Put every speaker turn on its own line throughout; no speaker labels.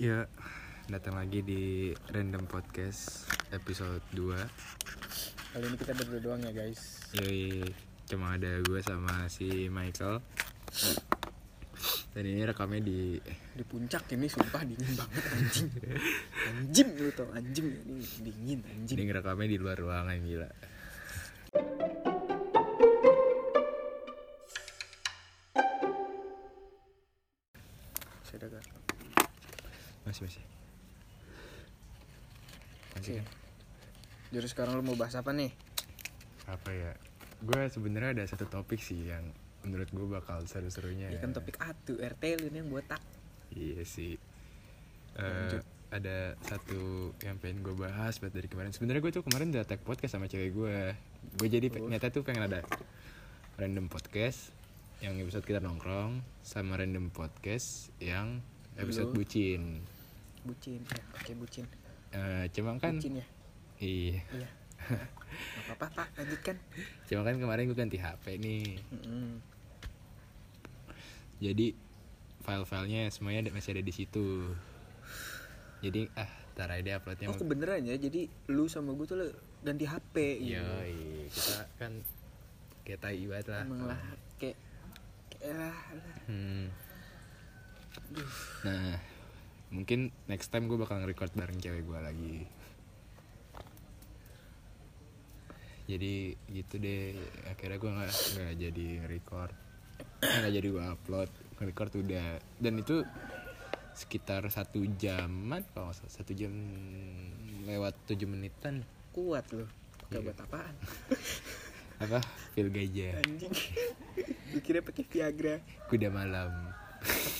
Ya, datang lagi di Random Podcast episode 2
Kali ini kita berdua doang ya guys.
Yoi, cuma ada gue sama si Michael Dan ini rekamnya di
Di puncak ini sumpah dingin banget anjing. Anjing lu tau anjing ini dingin anjing.
Ini rekamnya di luar ruangan gila
Saya ada gak?
Masih, masih Masih
Oke.
kan?
Jadi sekarang lu mau bahas apa nih?
Apa ya Gue sebenarnya ada satu topik sih yang menurut gue bakal seru-serunya
Ini kan topik atu RT lu ini yang botak.
Iya sih. Eh,
Lanjut.
ada satu yang pengen gue bahas buat dari kemarin. Sebenarnya gue tuh kemarin udah tag podcast sama cewek gue. Gue jadi pe-
Oh.
nyata tuh pengen ada random podcast yang episode kita nongkrong sama random podcast yang episode
Lu.
bucin.
Bucin ya, oke bucin.
Eh, cuma kan
Bucin ya.
iya.
Iya. Gak apa-apa Pak, lanjutkan.
Cuma kan kemarin gue ganti HP nih. Hmm.
Mm-mm.
Jadi file-filenya semuanya ada- masih ada di situ. Jadi ah, ntar aja deh uploadnya.
Oh
mungkin.
kebeneran ya, jadi lu sama gue tuh lu ganti HP gitu.
Iya. Yoi, kita kan kita ibarat lah.
Emang lah, kayak kayak eh, lah, lah.
Hmm. Nah, mungkin next time gue bakal nge-record bareng cewek gue lagi. Jadi gitu deh, akhirnya gue nggak nggak jadi record, nggak jadi gue upload, record udah. Dan itu sekitar satu jaman, kalau nggak salah, satu jam lewat tujuh menitan
kuat lu. Gak
Iya.
buat apaan.
apa feel gajah
Anjing. Gue kira pakai Viagra.
kuda malam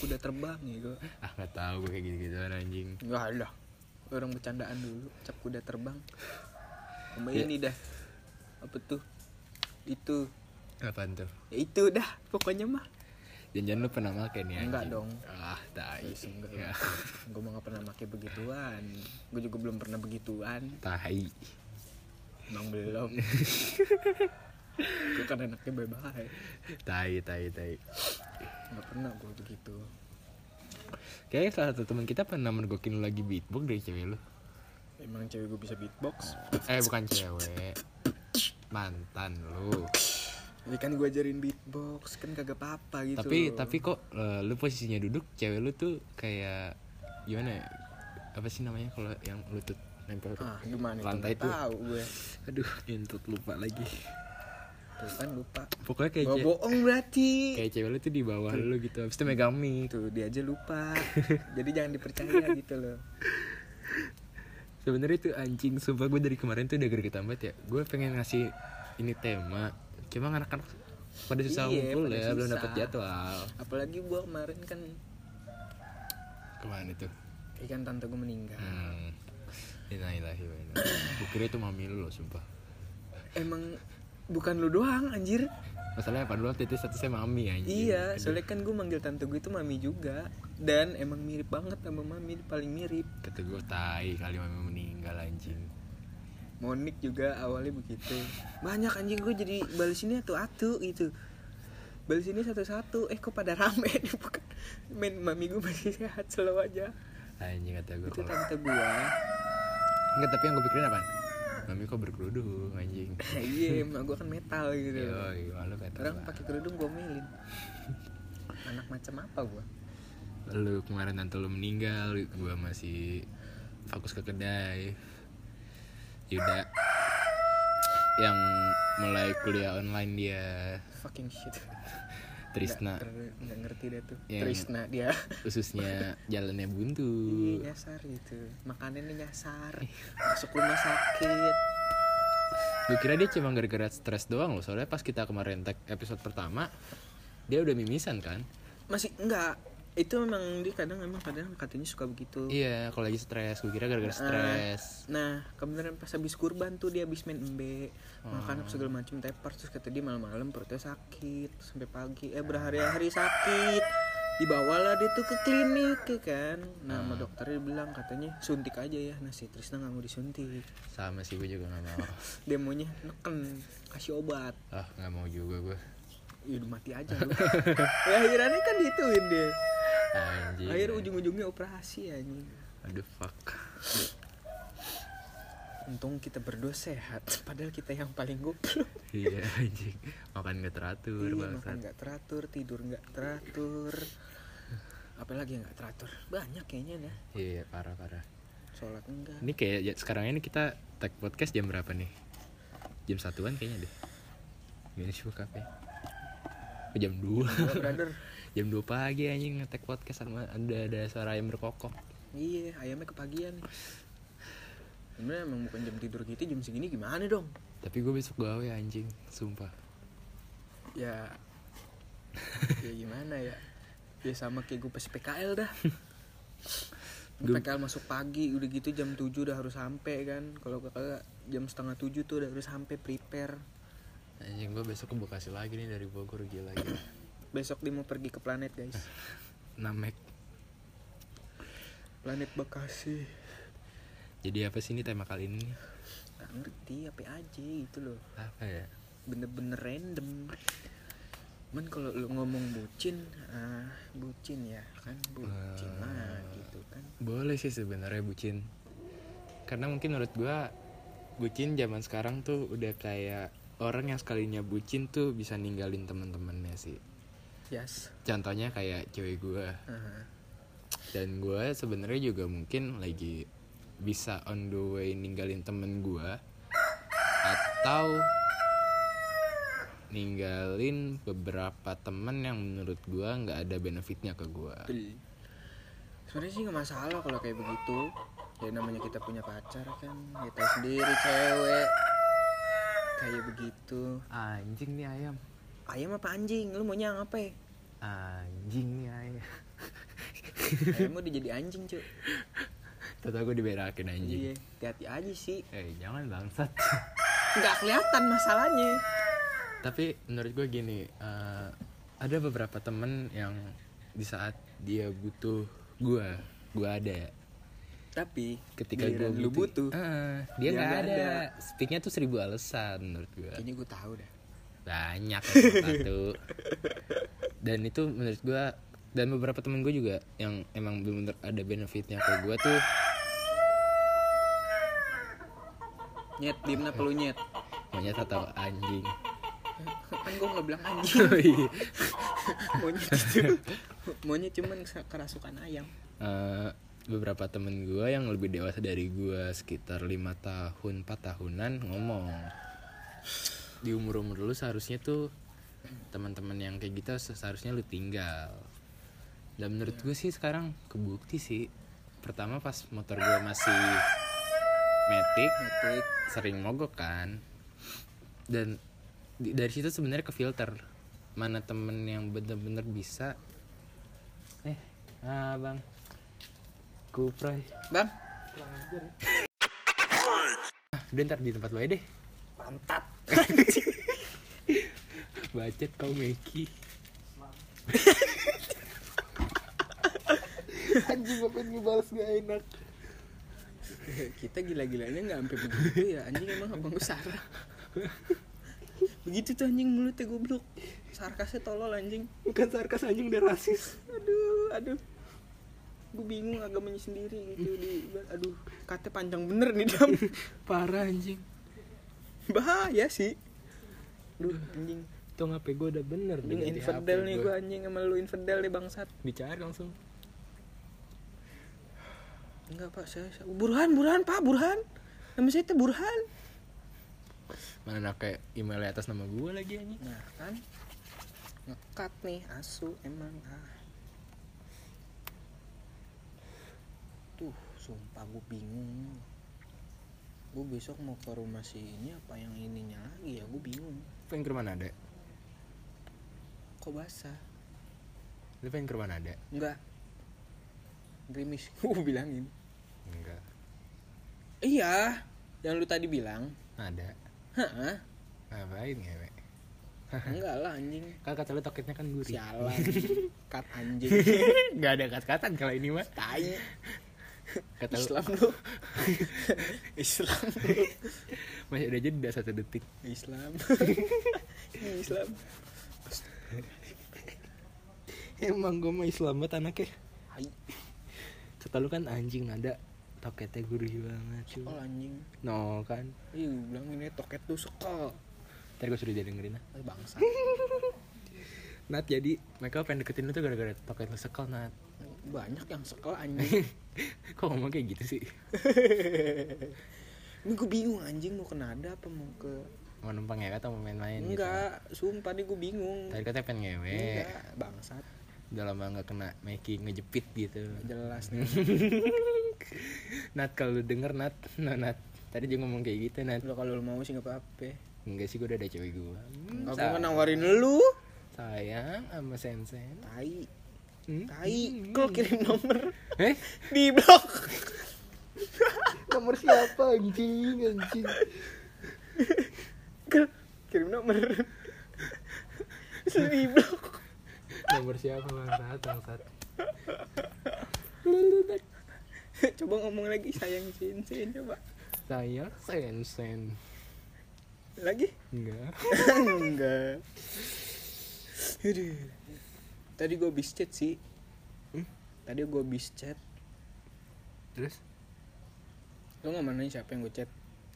Kuda terbang ya gue.
ah nggak tahu gue kayak gitu gituan anjing
Enggak lah. Orang bercandaan dulu, cap kuda terbang. Sama
Ya.
ini dah. Apa tuh? Itu.
apaan tuh
Ya itu dah, pokoknya mah.
jangan lu pernah makan ya anjing?
Enggak dong.
ah tai
Yes, enggak
ya,
lah. Gue mah gak pernah pakai begituan. Gue juga belum pernah begituan.
tai
Emang belum. gue kan anaknya bye-bye.
tai tai tai
Gak pernah gue begitu.
kayaknya salah satu teman kita pernah mergokin lu lagi beatbox dari cewek lu
Emang cewek gue bisa beatbox?
eh bukan cewek mantan lu
Ya kan gue ajarin beatbox, kan kagak apa-apa gitu.
tapi
loh.
tapi kok eh, lu posisinya duduk cewek lu tuh kayak gimana ya? apa sih namanya kalau yang lutut nempel ke
ah gimana itu?
lantai
Nggak
tuh
tahu gue.
aduh entut lupa lagi
Tuh kan lupa.
pokoknya kayak
Gak
ce-
bohong berarti.
kayak cewek lu tuh di bawah lu gitu habis itu megang mic
Tuh dia aja lupa. Jadi jangan dipercaya gitu loh.
Sebenarnya itu anjing, sumpah gue dari kemarin tuh udah gregetan banget ya. Gue pengen ngasih ini tema, cuma anak-anak pada susah
Iya,
ngumpul
pada
ya, belum
susah.
dapat jadwal.
Apalagi gue kemarin kan
Kemana tuh?
ikan tante gue meninggal.
Hmm. Innalillahi wa inna ilaihi raji'un. Gue kira itu mami lu loh, sumpah.
Emang bukan lu doang anjir.
Masalahnya pada lu titik statusnya mami anjing.
Iya,
Aduh,
soalnya kan gue manggil tante gue itu mami juga dan emang mirip banget sama mami paling mirip.
kata gue tai kali mami meninggal anjing.
Monik juga awalnya begitu. Banyak anjing gue jadi balesinnya tuh atu gitu. Balesinnya satu-satu, eh kok pada rame nih bukan. Men, mami gue masih sehat selalu aja.
Anjing kata gue.
Itu
Kalau...
tante gue.
Enggak, tapi yang gue pikirin apa? Mami kok berkerudung anjing.
iya emak gue kan metal gitu
Yoi, malu kata
orang
lah.
pakai kerudung gue melin anak macam apa gue
lu kemarin tante lu meninggal gua masih fokus ke kedai Yuda yang mulai kuliah online dia
fucking shit
Trisna
nggak, ter- nggak ngerti deh tuh
Nah. Iya.
Trisna dia
khususnya jalannya buntu
iya nyasar gitu makanannya nyasar masuk rumah sakit
gue kira dia cuma gara-gara stres doang loh soalnya pas kita kemarin tag episode pertama dia udah mimisan kan
masih enggak itu memang dia kadang memang kadang katanya suka begitu
iya kalau lagi stres gue kira gara-gara stres
Nah, kebenaran pas habis kurban tuh dia habis main embe, makan apa segala macam tepar terus kata dia malam-malam perutnya sakit sampai pagi. Eh berhari-hari sakit. Dibawalah dia tuh ke klinik ya kan. Nah, sama dokternya bilang katanya suntik aja ya. Nah, si Trisna nggak mau disuntik.
sama sih gue juga nggak mau
Dia maunya neken, kasih obat.
ah nggak mau juga gue
Ya udah mati aja lu. ya akhirnya kan dituin dia.
anjing
akhirnya ujung-ujungnya operasi anjing
aduh fuck
untung kita berdua sehat padahal kita yang paling goblok
iya anjing makan nggak teratur
Iya, makan
bangsat
nggak teratur tidur nggak teratur apalagi yang nggak teratur banyak kayaknya dah
iya parah parah
sholat enggak
ini kayak ya, sekarang ini kita tag podcast jam berapa nih jam satuan kayaknya deh gini sih buka apa ya? Oh, jam dua
Gua, brother
jam dua pagi anjing ngetek podcast sama ada ada suara yang berkokok
iya ayamnya kepagian nih sebenarnya emang bukan jam tidur kita jam segini gimana dong
tapi gue besok gawe anjing sumpah
ya ya gimana ya ya sama kayak gue pas PKL dah Gua
Gua-
PKL masuk pagi udah gitu jam 7 udah harus sampai kan kalau kakak jam setengah 7 tuh udah harus sampai prepare
anjing gue besok ke bekasi lagi nih dari bogor gila lagi
besok dia mau pergi ke planet guys
namek
planet Bekasi
jadi apa sih ini tema kali ini nih?
nggak ngerti apa aja gitu loh
apa ya
bener-bener random cuman kalau lu ngomong bucin ah bucin ya kan bucin ah gitu kan
boleh sih sebenarnya bucin karena mungkin menurut gua bucin zaman sekarang tuh udah kayak orang yang sekalinya bucin tuh bisa ninggalin teman-temannya sih
yes
contohnya kayak cewek gua
Ah.
dan gua sebenarnya juga mungkin lagi bisa on the way ninggalin temen gua atau ninggalin beberapa temen yang menurut gua nggak ada benefitnya ke gua
Betul. Sebenarnya sih nggak masalah kalau kayak begitu. Ya namanya kita punya pacar kan, kita sendiri cewek. Kayak begitu.
anjing nih ayam
Ayam apa anjing? Lu maunya yang apa ya?
anjing nih ayam
Ayam udah jadi anjing, cuy.
Tata gue diberakin anjing.
Iya, hati-hati aja sih.
Eh jangan bangsat.
Nggak kelihatan masalahnya.
Tapi menurut gue gini, eh, ada beberapa temen yang di saat dia butuh gue, gue ada. ya.
Tapi
Ketika ya. gue
giliran lu butuh,
dia
dia
nggak
nggak
ada.
ada.
Speaknya tuh seribu alasan menurut gue.
kayaknya gue tahu dah.
Banyak ya, satu. Dan itu menurut gue dan beberapa temen gue juga yang emang bener-bener ada benefitnya ke gue tuh
Nyet, diem apa lu nyet?
monyet atau anjing.
Kan gue nggak bilang anjing. Monyet itu. Monyet cuman kerasukan ayam.
Eh, beberapa temen gue yang lebih dewasa dari gue sekitar lima tahun 4 tahunan ngomong di umur umur lu seharusnya tuh teman-teman yang kayak gitu se- seharusnya lu tinggal dan menurut gue sih sekarang kebukti sih pertama pas motor gue masih metik
Metik.
sering mogok kan dan di- dari situ sebenarnya ke filter mana temen yang bener-bener bisa eh ah bang kuproy
Bang,
ah, udah ntar di tempat lo aja deh
mantap.
bacet kau Meki anjing banget ngebales gak enak
kita gila-gilanya nggak sampai begitu ya anjing emang abang gue sarah begitu tuh anjing mulutnya goblok sarkasnya tolol anjing
bukan sarkas anjing udah rasis
aduh aduh gue bingung agamanya sendiri gitu di aduh kata panjang bener nih dam
parah anjing
bahaya sih Duh, anjing
tuh HP gue udah bener
anjing infidel nih gue anjing sama lu infidel nih bangsat
bicara langsung
enggak pak saya, saya- burhan burhan pak burhan nama saya itu burhan
mana pakai email atas nama gue lagi anjing
nah kan ngekat nih asu emang ah tuh sumpah gue bingung gue besok mau ke rumah si ini apa yang ininya lagi ya gue bingung
pengen ke rumah nada
kok basah
lu pengen ke rumah nada
enggak gerimis gue bilangin
enggak
iya yang lu tadi bilang
nada
Hah?
ngapain ngewe
enggak lah anjing
kan kata lu toketnya kan gurih
sialan kat anjing
nggak ada kat-katan kalau ini mah
tai
kata lu
Islam lu Islam lu
masih ada jeda satu detik
Islam Ini Islam
Emang gue mah Islam banget anaknya.
Hai.
Kata lu kan anjing nada toketnya gurih banget cuy.
Oh anjing.
No kan.
Iya gua bilang ini toket tuh suka.
Ntar gue suruh dia dengerin ah.
Eh, bangsa.
Nat jadi mereka pengen deketin lu tuh gara-gara toket lu sekal Nat.
Banyak yang suka anjing.
Kok ngomong kayak gitu sih?
Ini gue bingung anjing mau ke nada apa mau ke
Mau numpang ya atau mau main-main gitu?
Enggak, sumpah nih gue bingung.
Tadi katanya pengen ngewe.
Enggak, bangsat.
Udah lama gak kena making ngejepit gitu.
Nggak Jelas nih.
Nat kalau lu denger Nat, no, Nat. Tadi dia ngomong kayak gitu Nat.
Lo kalau lo mau sih nggak apa-apa.
Enggak sih gue udah ada cewek gue. Hmm,
Aku
sa-
kan nawarin lu.
sayang sama Sensen.
Tai,
Hmm?
tai. Lo kirim nomor
Eh?
di blok.
Nomor siapa anjing anjing?
Kal- Kirim nomor. Terus lu di blok.
Nomor siapa bangsat bangsat?
Coba ngomong lagi sayang cincin coba.
Sayang Sensen.
Lagi?
Enggak.
Enggak. Aduh. Tadi gue bis chat sih.
Hmm?
Tadi gue bis chat.
Terus?
Lo nggak nanyain siapa yang gue chat?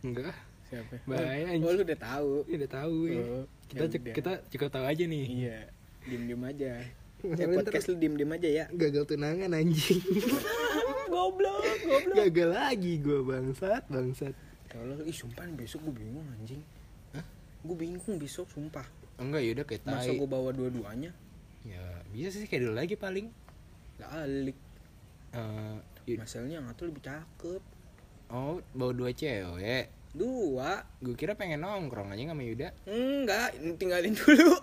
Enggak.
Siapa?
Bahaya,
Oh,
anjing.
lu udah tahu.
Udah tahu ya.
Oh,
kita
ya
cek-
udah.
kita cukup tahu aja nih.
Iya. Diem-diem aja. Eh,
Ntar-
podcast lu diem-diem aja ya.
Gagal tunangan anjing.
goblok, goblok.
Gagal lagi gue bangsat, bangsat.
Ya Allah, ih sumpah nih, besok gue bingung anjing. Gue bingung besok sumpah.
Enggak yaudah kayak
Masa
tai.
gue bawa dua-duanya?
Ya, bisa sih kayak dulu lagi paling.
Lah alik.
Eh, yuk-
Masalahnya yang satu lebih cakep.
Oh bawa dua cewek.
Dua.
Gue kira pengen nongkrong aja sama Yuda.
Enggak, tinggalin dulu.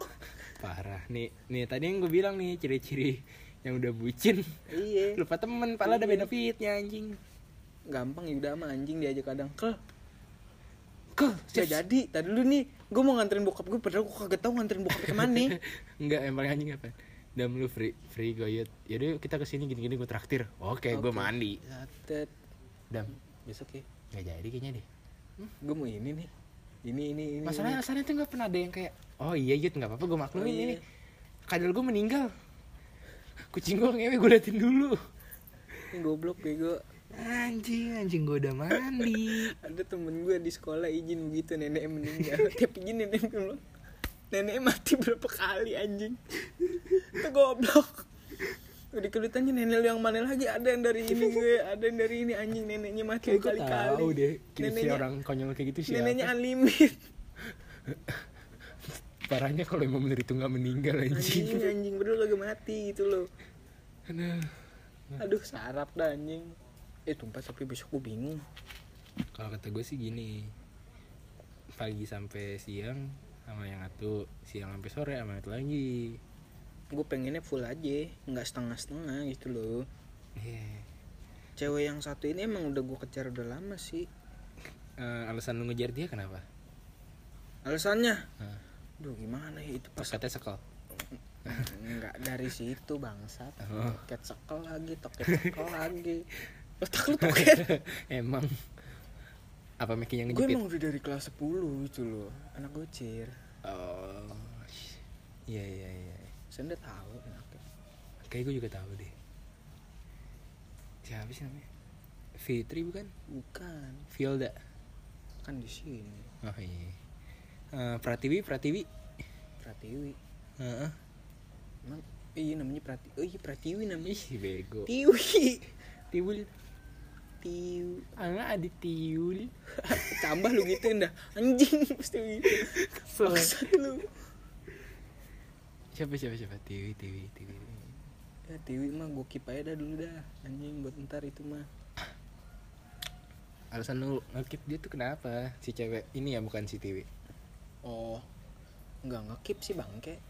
parah nih. Nih tadi yang gue bilang nih ciri-ciri yang udah bucin.
iya.
Lupa temen, pala ada benefitnya anjing.
Gampang ya udah sama anjing dia aja kadang. Kel,
Kok
bisa jadi. Tadi dulu nih, gue mau nganterin bokap gue padahal gue kagak tau nganterin bokap kemana.
Enggak, yang paling anjing apa? Dam lu free free goyet. Yaudah yuk, kita kesini gini-gini gue traktir. Oke, gue
Oke.
mandi.
Satet.
Dam,
Besok ya.
nggak jadi kayaknya deh.
gue mau ini nih ini ini ini
Masalahnya
ini.
alasannya tuh nggak pernah ada yang kayak oh iya yud nggak apa-apa gue maklumin
Oh, iya.
ini. Kadal gue meninggal. Kucing gue ngewe gue liatin dulu.
Ini goblok bego
Anjing anjing gue udah mandi.
ada temen gue di sekolah izin begitu nenek meninggal tiap izin nenek bilang nenek mati berapa kali anjing itu goblok udah kedutannya nenek lu yang mana lagi ada yang dari ini gue ada yang dari ini anjing neneknya mati
Kayak gue
berkali kali
tahu deh. Kira si
neneknya
orang konyol kayak gitu siapa?
neneknya unlimited
Parahnya kalau emang bener itu nggak meninggal
anjing
anjing.
anjing berdua lagi mati gitu loh
Aduh.
aduh sarap dah anjing Nah. eh tumpah tapi besok gue bingung
Kalau kata gue sih gini. Pagi sampai siang sama yang satu, siang sampai sore sama yang satu lagi.
gue pengennya full aja nggak setengah-setengah gitu loh
Iya.
cewek yang satu ini emang udah gue kejar udah lama sih
Eh, alasan lu ngejar dia kenapa?
alasannya
Hah.
duh gimana ya itu pas
Toketnya sekol.
nggak dari situ bangsat toket sekel lagi toket sekel lagi otak lu toket
emang apa making yang
gue
ngejepit?
emang udah dari kelas 10 gitu loh anak gocir
Oh, iya iya iya.
saya udah tahu anaknya
Kayak gue juga tahu deh. Siapa sih namanya? Fitri bukan?
bukan
Fielda.
kan di sini
Oh iya. Eh, Pratiwi, Pratiwi.
Pratiwi
Heeh.
emang iya namanya Pratiwi oh iya Pratiwi namanya
Ih, bego.
Tiwi
Tiwul.
Tiwi
Anak adik Tiwul.
tambah lu gituin dah anjing pasti lu gitu maksud lu
Siapa siapa siapa? Tiwi, Tiwi, Tiwi.
ya Tiwi mah gue keep aja dah dulu dah anjing buat ntar itu mah
Alasan lu ngekip dia tuh kenapa? Si cewek ini ya bukan si Tiwi.
oh nggak ngekip sih bangke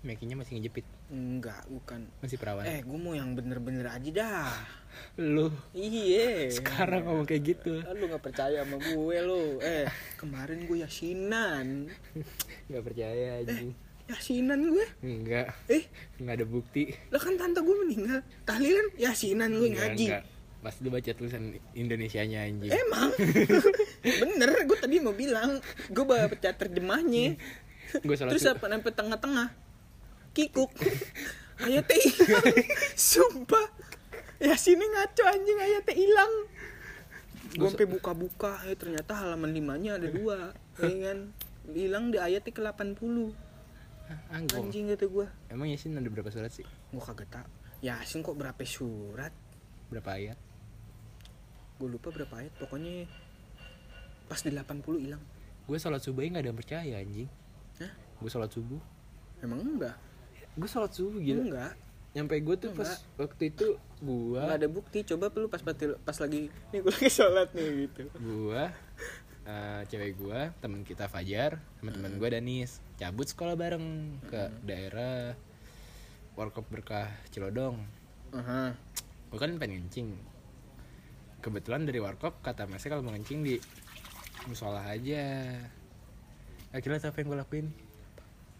Makingnya masih ngejepit,
nggak bukan
masih perawan.
eh gue mau yang bener-bener aja dah
Lu
iye
sekarang ngomong kayak gitu.
Ah, lu nggak percaya sama gue lu eh kemarin gue yasinan
Gak percaya anjing.
yasinan gue
Enggak,
eh
enggak ada bukti.
lah kan tante gue meninggal tahlilan yasinan gue
Enggak,
ngaji
enggak. Pas lu baca tulisan Indonesianya anjing.
emang bener gue tadi mau bilang gue baca terjemahnya
Gue salah
Terus
su-
apa sampai tengah-tengah? kikuk ayah teh hilang sumpah ya sini ngaco anjing ayah teh hilang gue sampai buka-buka eh ternyata halaman limanya ada dua ya kan hilang di ayat ke 80
Anggong.
anjing kata gue
Ah, Emang Yasin ada berapa surat sih?
gue kaget tak Yasin Ya, kok berapa surat
Berapa ayat?
gue lupa berapa ayat pokoknya pas di 80 hilang
Gue sholat subuh nggak ada yang percaya anjing.
Hah?
Gue sholat subuh.
emang enggak
Gue sholat subuh gila.
enggak
Nyampe gue tuh pas waktu itu gue
enggak ada bukti coba perlu pas batil- pas lagi nih gue lagi sholat nih gitu
gue eh, cewek gue teman kita Fajar teman teman gue Danis cabut sekolah bareng ke daerah Warkop Berkah Cilodong
Aha.
gue kan pengen kencing kebetulan dari warkop kata masnya kalau mau kencing di musola aja akhirnya apa yang gue lakuin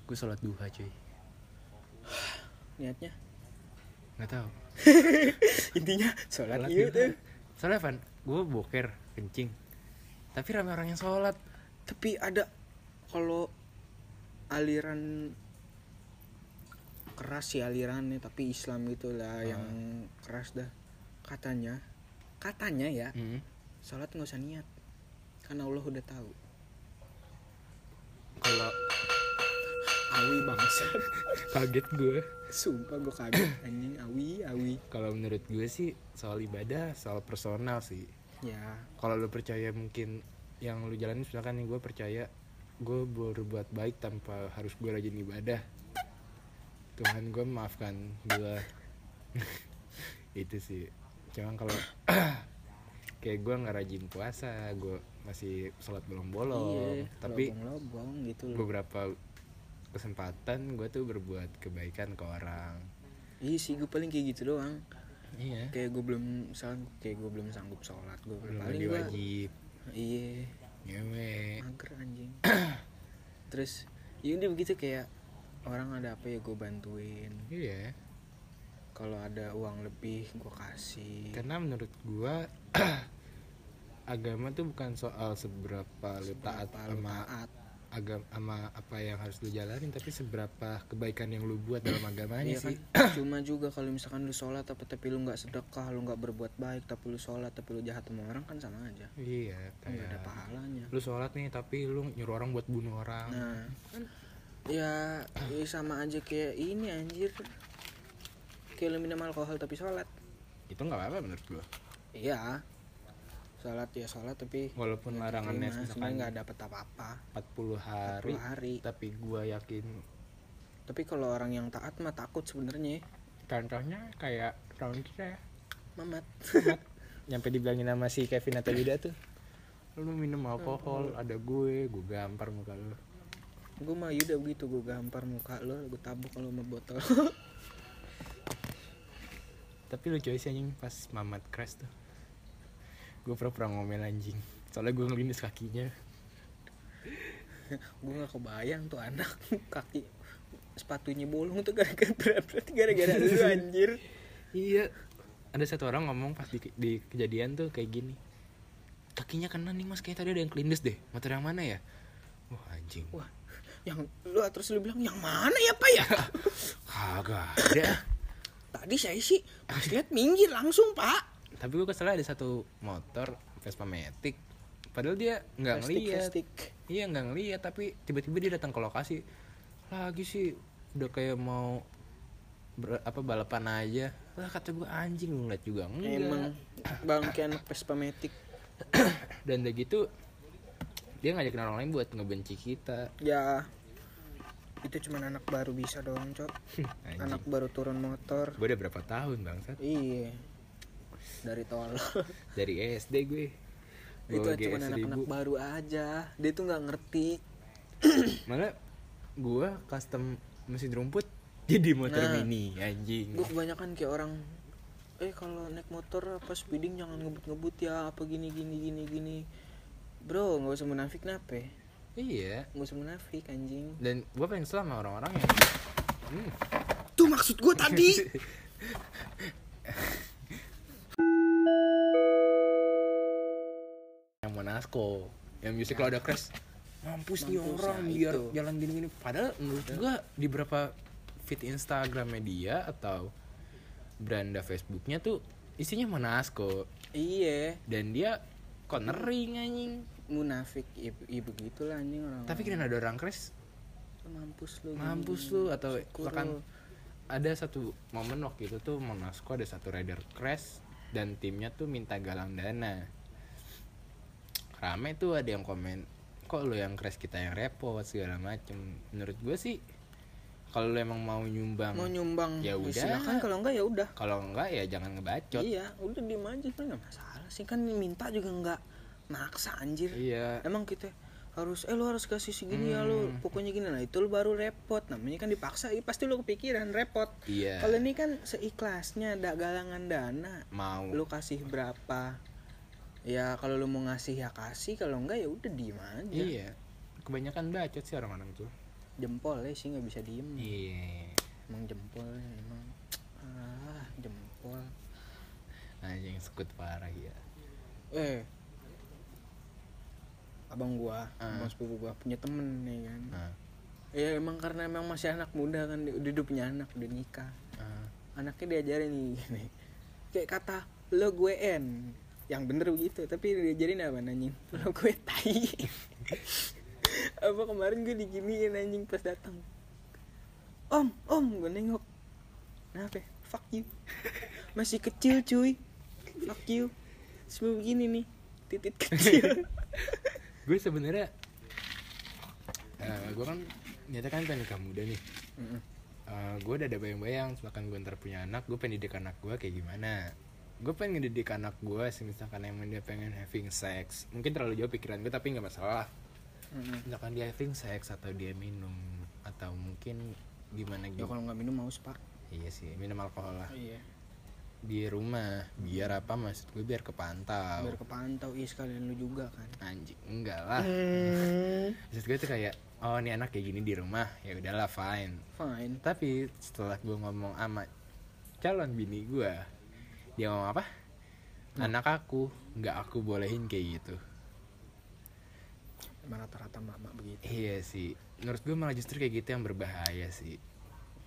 gue sholat duha cuy
niatnya
nggak tahu
intinya sholat
sholat gitu.
iya
duha
tuh
soalnya Van gue boker kencing tapi ramai orang yang sholat
tapi ada kalau aliran keras sih alirannya tapi Islam itulah yang keras dah katanya katanya ya
Hmm.
sholat nggak usah niat karena Allah udah tahu
kalau
awi bangsa
kaget gue
sumpah gue kaget anjing awi awi
kalau menurut gue sih soal ibadah soal personal sih
ya
kalau lu percaya mungkin yang lu jalanin misalkan nih gue percaya gue berbuat baik tanpa harus gue rajin ibadah Tuhan gue maafkan gue itu sih cuman kalau kayak gue nggak rajin puasa gue masih sholat bolong-bolong tapi
lobong Iya, gitu loh
beberapa kesempatan gue tuh berbuat kebaikan ke orang
iya sih gue paling kayak gitu doang
iya
kayak gue belum misalnya kayak gue belum sanggup sholat gue
belum
paling
mandi
gua- Hmm.
wajib
iya
ngewe
mager anjing terus ya udah begitu kayak orang ada apa ya gue bantuin
iya
kalau ada uang lebih gue kasih
karena menurut gua agama tuh bukan soal seberapa lu taat
Apa, lu
sama
taat.
agama sama apa yang harus lu jalanin tapi seberapa kebaikan yang lu buat dalam agamanya
Iya
sih
kan cuma juga kalau misalkan lu sholat tapi tapi lu nggak sedekah lu nggak berbuat baik tapi lu sholat tapi lu jahat sama orang kan sama aja
iya
Kan nggak ada
kayak
pahalanya
lu sholat nih tapi lu nyuruh orang buat bunuh orang
nah ya, ya sama aja kayak ini anjir kayak lu minum alkohol tapi sholat
itu nggak apa-apa menurut gua
iya sholat ya sholat tapi
walaupun larangannya
Terima, sebenarnya
misalkan
Nah, nggak dapat apa-apa
40 hari
40 hari
tapi gua yakin
tapi kalau orang yang taat mah takut sebenarnya ya.
contohnya kayak contohnya
mamat
nyampe dibilangin sama si Kevin atau Yuda tuh lu minum alkohol ada gue gue gampar muka lu
gue mah yuda begitu gue gampar muka lo gue tabok lo sama botol
tapi lucu sih anjing pas mamat crash tuh gue pura-pura ngomel anjing soalnya gue ngelindes kakinya
gue gak kebayang tuh anak kaki sepatunya bolong tuh gara-gara berarti gara-gara lu anjir
iya ada satu orang ngomong pas di, di kejadian tuh kayak gini kakinya kena nih mas kayak tadi ada yang kelindes deh motor yang mana ya wah anjing
wah yang lu terus lu bilang yang mana ya pak ya
kagak ada
tadi saya sih pas lihat minggir langsung pak
tapi gue kesel ada satu motor Vespa Matic padahal dia nggak ngeliat
plastik
Iya nggak ngeliat tapi tiba-tiba dia datang ke lokasi lagi sih udah kayak mau ber- apa balapan aja lah kata gue anjing lu ngeliat juga enggak
emang bangke anak Vespa Matic
dan udah gitu dia ngajakin orang lain buat ngebenci kita
ya itu cuman anak baru bisa doang cok
anjing
anak baru turun motor
gue udah berapa tahun bangsat
iya dari tol
dari SD gue Gua GS
itu cuma anak-anak
1000.
baru aja dia tuh nggak ngerti
malah gue custom mesin rumput jadi motor
Nah.
mini anjing
gue kebanyakan kayak orang eh kalau naik motor apa speeding jangan ngebut-ngebut ya apa gini gini gini gini bro nggak usah munafik nape
iya
nggak usah munafik anjing
dan gue pengen kesel sama orang-orang yang Hmm.
tuh maksud gue tadi
yang Monasco yang music kalau ada crash mampus, nih
Mampus,
orang
nah
biar
itu. Iya.
jalan gini gini padahal menurut gua di berapa feed Instagramnya dia atau beranda Facebooknya tuh isinya monasko
iya
dan dia cornering anjing
munafik ya, ya begitulah anjing orang
tapi kan ada orang crash
mampus lu
mampus lu atau bahkan ada satu momen waktu itu tuh Monasco ada satu rider crash dan timnya tuh minta galang dana rame tuh ada yang komen kok lu yang crash kita yang repot segala macem menurut gue sih kalau lu emang mau nyumbang
mau nyumbang
Ya udah.
silakan kalau enggak ya udah
kalau enggak ya jangan ngebacot
iya udah diem aja sebenarnya nggak masalah sih kan minta juga nggak maksa anjir
iya
emang kita harus eh lu harus kasih segini ya
Hmm.
lu pokoknya gini nah itu lu baru repot namanya kan dipaksa ya pasti lu kepikiran repot
iya
kalau ini kan seikhlasnya ada galangan dana
mau
lu kasih berapa ya kalau lu mau ngasih ya kasih kalau enggak ya udah diem aja
iya kebanyakan bacot sih orang-orang tuh
jempolnya sih nggak bisa diem
iya
emang jempolnya emang ah jempol
anjing sekut parah ya
eh abang gua abang sepupu gua punya temen nih kan
nah,
ya emang karena emang masih anak muda kan dia dia udah punya anak udah nikah
ah.
anaknya diajarin nih gini kayak kata lo gue en yang bener begitu tapi diajarin apa anjing lo gue tai apa kemarin gue diginiin anjing pas datang om om gue nengok kenapa ya? fuck you masih kecil cuy fuck you sebelum begini nih titit kecil
gue sebenarnya eh, gue kan nyata kan pengen nikah muda nih
Mm-mm.
Eh, gue udah ada bayang-bayang misalkan gue ntar punya anak gue pengen didik anak gue kayak gimana gue pengen ngedidik anak gue sih misalkan emang dia pengen having sex mungkin terlalu jauh pikiran gue tapi nggak masalah
Mm-mm.
misalkan dia having sex atau dia minum atau mungkin gimana
ya
gitu
kalau nggak minum haus pak
iya sih minum alkohol lah
iya
di rumah biar apa maksud gue biar kepantau
biar kepantau iya sekalian lu juga kan
anjing enggak lah
Hmm.
maksud gue tuh kayak oh ini anak kayak gini di rumah ya udahlah fine
fine
tapi setelah gue ngomong sama calon bini gue dia ngomong apa anak aku nggak aku bolehin kayak gitu
emang rata-rata mama begitu
iya sih menurut gue malah justru kayak gitu yang berbahaya sih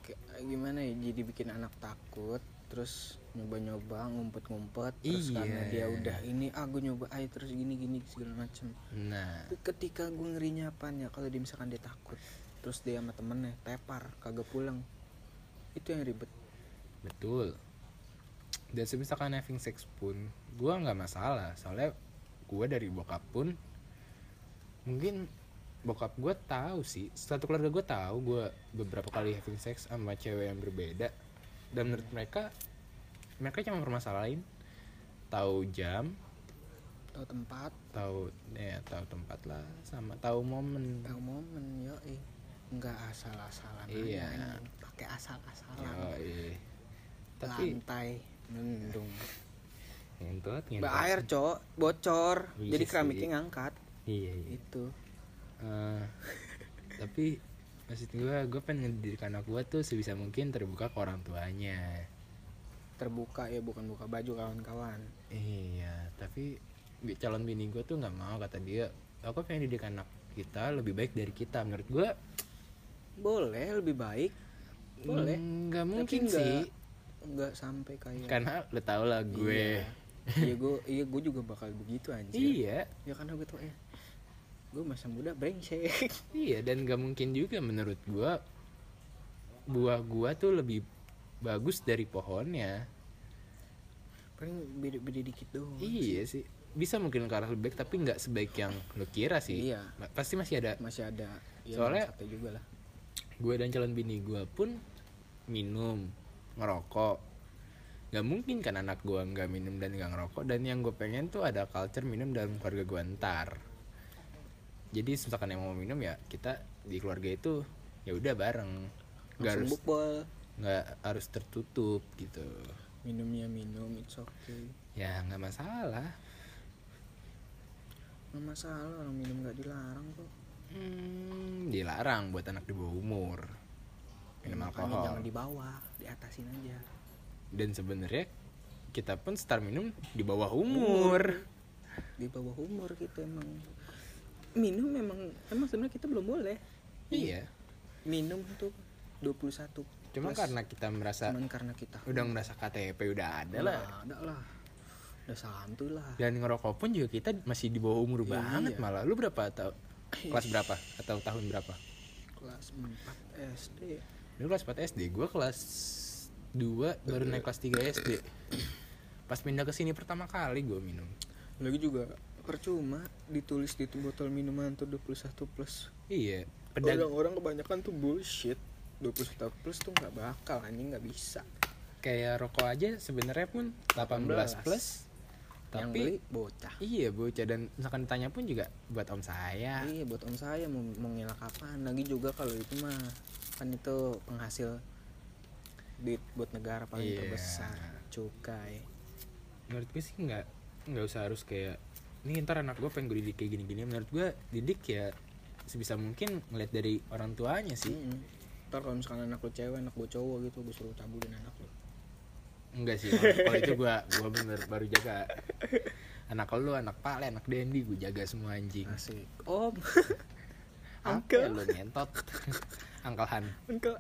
Kayak gimana ya jadi bikin anak takut terus nyoba-nyoba ngumpet-ngumpet terus
Iya.
karena dia udah ini ah gue nyoba ayo terus gini gini segala macem
nah
Tapi ketika gue ngerinya apanya kalau dia misalkan dia takut terus dia sama temennya tepar kagak pulang itu yang ribet
betul dan misalkan having sex pun gue nggak masalah soalnya gue dari bokap pun mungkin bokap gue tahu sih satu keluarga gue tahu gue beberapa kali having sex sama cewek yang berbeda dan menurut mereka mereka cuma permasalahin tahu jam
tahu tempat
tahu ya tahu tempat lah sama tahu momen
tahu momen yo nggak asal-asalan aja,
Iya.
anjing. pakai asal-asalan
Yoi. tapi
lantai mendung
ngentot ngentot.
Bah, air cok bocor
Iya
jadi
sih.
keramiknya ngangkat Gitu.
iya iya
itu
Eh, tapi maksud gue gue pengen ngedidik anak gue tuh sebisa mungkin terbuka ke orang tuanya
terbuka ya bukan buka baju kawan-kawan
iya tapi bi- calon bini gue tuh nggak mau kata dia aku pengen didik anak kita lebih baik dari kita menurut gue
boleh lebih baik boleh
mm, nggak
Tapi
mungkin
nggak-
sih
Hmm. nggak sampai kayak
karena lo tau lah gue
iya gue iya gue juga bakal begitu anjir
iya
ya karena gue tuh eh gue masa muda brengsek
iya dan nggak mungkin juga menurut gue buah gue tuh lebih bagus dari pohonnya
paling beda beda dikit doang
Iya sih. Bisa mungkin ke arah lebih baik tapi nggak sebaik yang lo kira sih.
Iya.
Ma- Pasti masih ada.
masih ada ya,
Soalnya-
satu juga lah
Gue dan calon bini gue pun minum, ngerokok. Gak mungkin kan anak gue nggak minum dan nggak ngerokok. Dan yang gue pengen tuh ada culture minum dalam keluarga gue ntar. Jadi misalkan yang mau minum ya kita di keluarga itu ya udah bareng. Gak
langsung
harus
bukbol
nggak harus tertutup gitu.
minumnya minum it's okay
Ya nggak masalah.
nggak masalah orang minum nggak dilarang kok
Hmm, dilarang buat anak di bawah umur minum
Ya, makanya
alkohol.
jangan dibawa diatasin aja
Dan sebenarnya kita pun start minum di bawah umur.
di bawah umur gitu emang minum memang emang sebenarnya kita belum boleh
Iya.
minum tuh 21
cuma karena kita merasa
cuman karena kita
udah ngerasa KTP udah ada lah
lah ada lah udah santuy lah
dan ngerokok pun juga kita masih di bawah umur
Iya.
banget malah lu berapa tau kelas berapa atau tahun berapa
kelas 4 SD
lu kelas 4 SD gua kelas 2 baru naik kelas 3 SD pas pindah ke sini pertama kali gua minum
lagi juga percuma ditulis di botol minuman tuh 21 plus
iya pedag
orang-orang kebanyakan tuh bullshit 21 plus tuh nggak bakal anjing nggak bisa
kayak rokok aja sebenarnya pun 18 plus
yang
tapi
beli bocah
iya bocah dan misalkan ditanya pun juga buat om saya
iya buat om saya mau, mau ngelak apaan lagi juga kalau itu mah kan itu penghasil duit buat negara paling
Iya.
terbesar cukai
menurut gue sih nggak nggak usah harus kayak ini ntar anak gue pengen gue didik kayak gini-gini menurut gue didik ya sebisa mungkin ngeliat dari orang tuanya sih
Mm-mm. ntar kalau misalkan anak lu cewek anak gue cowok gitu gue suruh cabulin anak lu Hmm.
enggak sih kalau itu gue gue bener baru jaga anak lu anak pale anak dendi gue jaga semua anjing
asik om
Apa ya lu ngentot Uncle Han
Engkel.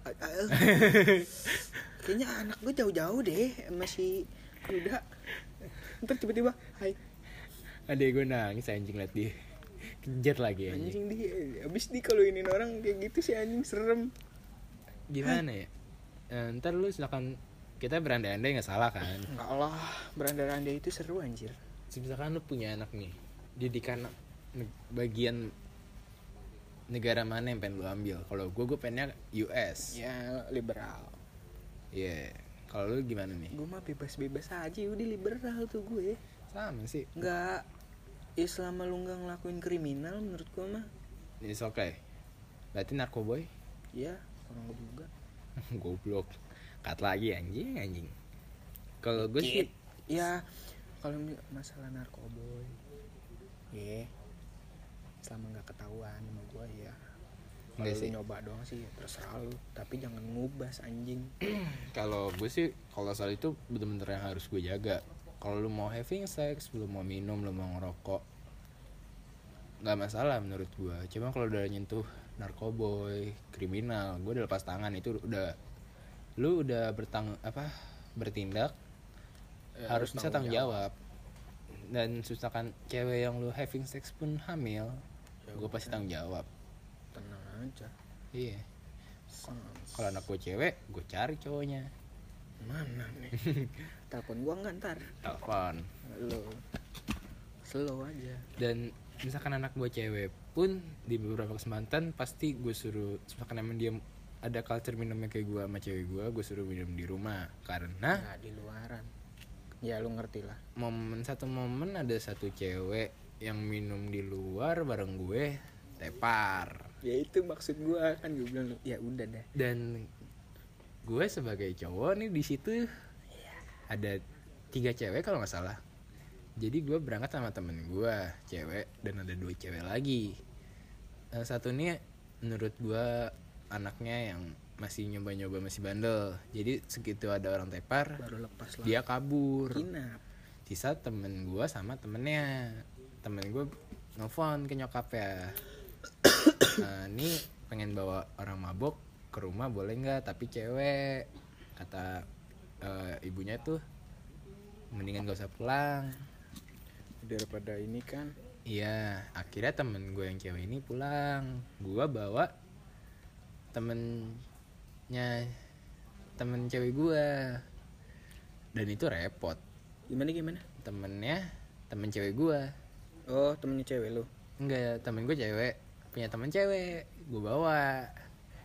Kayaknya anak gue jauh-jauh deh masih Yuda. Ntar tiba-tiba, hai
adek gue nangis anjing liat dia kejar lagi anjing
anjing di, abis di kalau ini orang kayak gitu sih anjing serem.
gimana ya Eh, ntar lu silakan kita berandai-andai nggak salah kan
Enggak lah, berandai-andai itu seru anjir.
misalkan lu punya anak nih didikan ne- bagian negara mana yang pengen lu ambil kalau gue gue pengennya US ya
Ya liberal.
Iya. kalau lu gimana nih
Gue mah bebas-bebas aja udah liberal tuh gue.
sama sih
Enggak Ya selama lu nggak ngelakuin kriminal menurut gue mah
it's okay berarti narkoboy
ya orang gue juga.
goblok kat lagi anjing anjing kalau gue sih
Ya kalau mi- masalah narkoboy, ya selama nggak ketahuan sama gue ya. Kalau
Nggak
lu
sih.
nyoba doang sih ya terserah lu, tapi jangan ngubas anjing.
kalau gue sih kalau soal itu bener-bener yang harus gue jaga kalau lu mau having sex lu mau minum lu mau ngerokok nggak masalah menurut gue cuma kalau udah nyentuh narkoboy kriminal gue udah lepas tangan itu udah lu udah bertang apa bertindak Eh, harus bisa tanggung jawab, dan susahkan cewek yang lu having sex pun hamil gue pasti tanggung jawab
Tenang aja.
iya
Sans.
kalau anak gue cewek gue cari cowoknya
Mana nih? Telepon gua nggak ntar.
telepon
Lo slow aja.
dan misalkan anak gue cewek pun di beberapa kesempatan pasti gue suruh misalkan emang dia ada culture minumnya kayak gue sama cewek gue gue suruh minum di rumah karena
Nggak di luaran. Ya lu ngerti lah.
momen satu momen ada satu cewek yang minum di luar bareng gue tepar
Ya itu maksud gua kan gue bilang ya udah deh.
dan gue sebagai cowok nih di situ ada tiga cewek kalau nggak salah jadi gue berangkat sama temen gue cewek dan ada dua cewek lagi Eh, satu nih menurut gue anaknya yang masih nyoba-nyoba masih bandel jadi segitu ada orang tepar
Baru lepas lah.
dia kabur
Kinap.
sisa temen gue sama temennya temen gue nelfon ke nyokap ya ini pengen bawa orang mabok ke rumah boleh nggak tapi cewek kata eh, ibunya tuh mendingan gak usah pulang
Daripada ini kan
iya akhirnya temen gue yang cewek ini pulang gue bawa temennya temen cewek gue dan itu repot
gimana gimana?
temennya temen cewek gue
Oh temennya cewek lu?
Enggak, temen gue cewek Punya temen cewek Gue bawa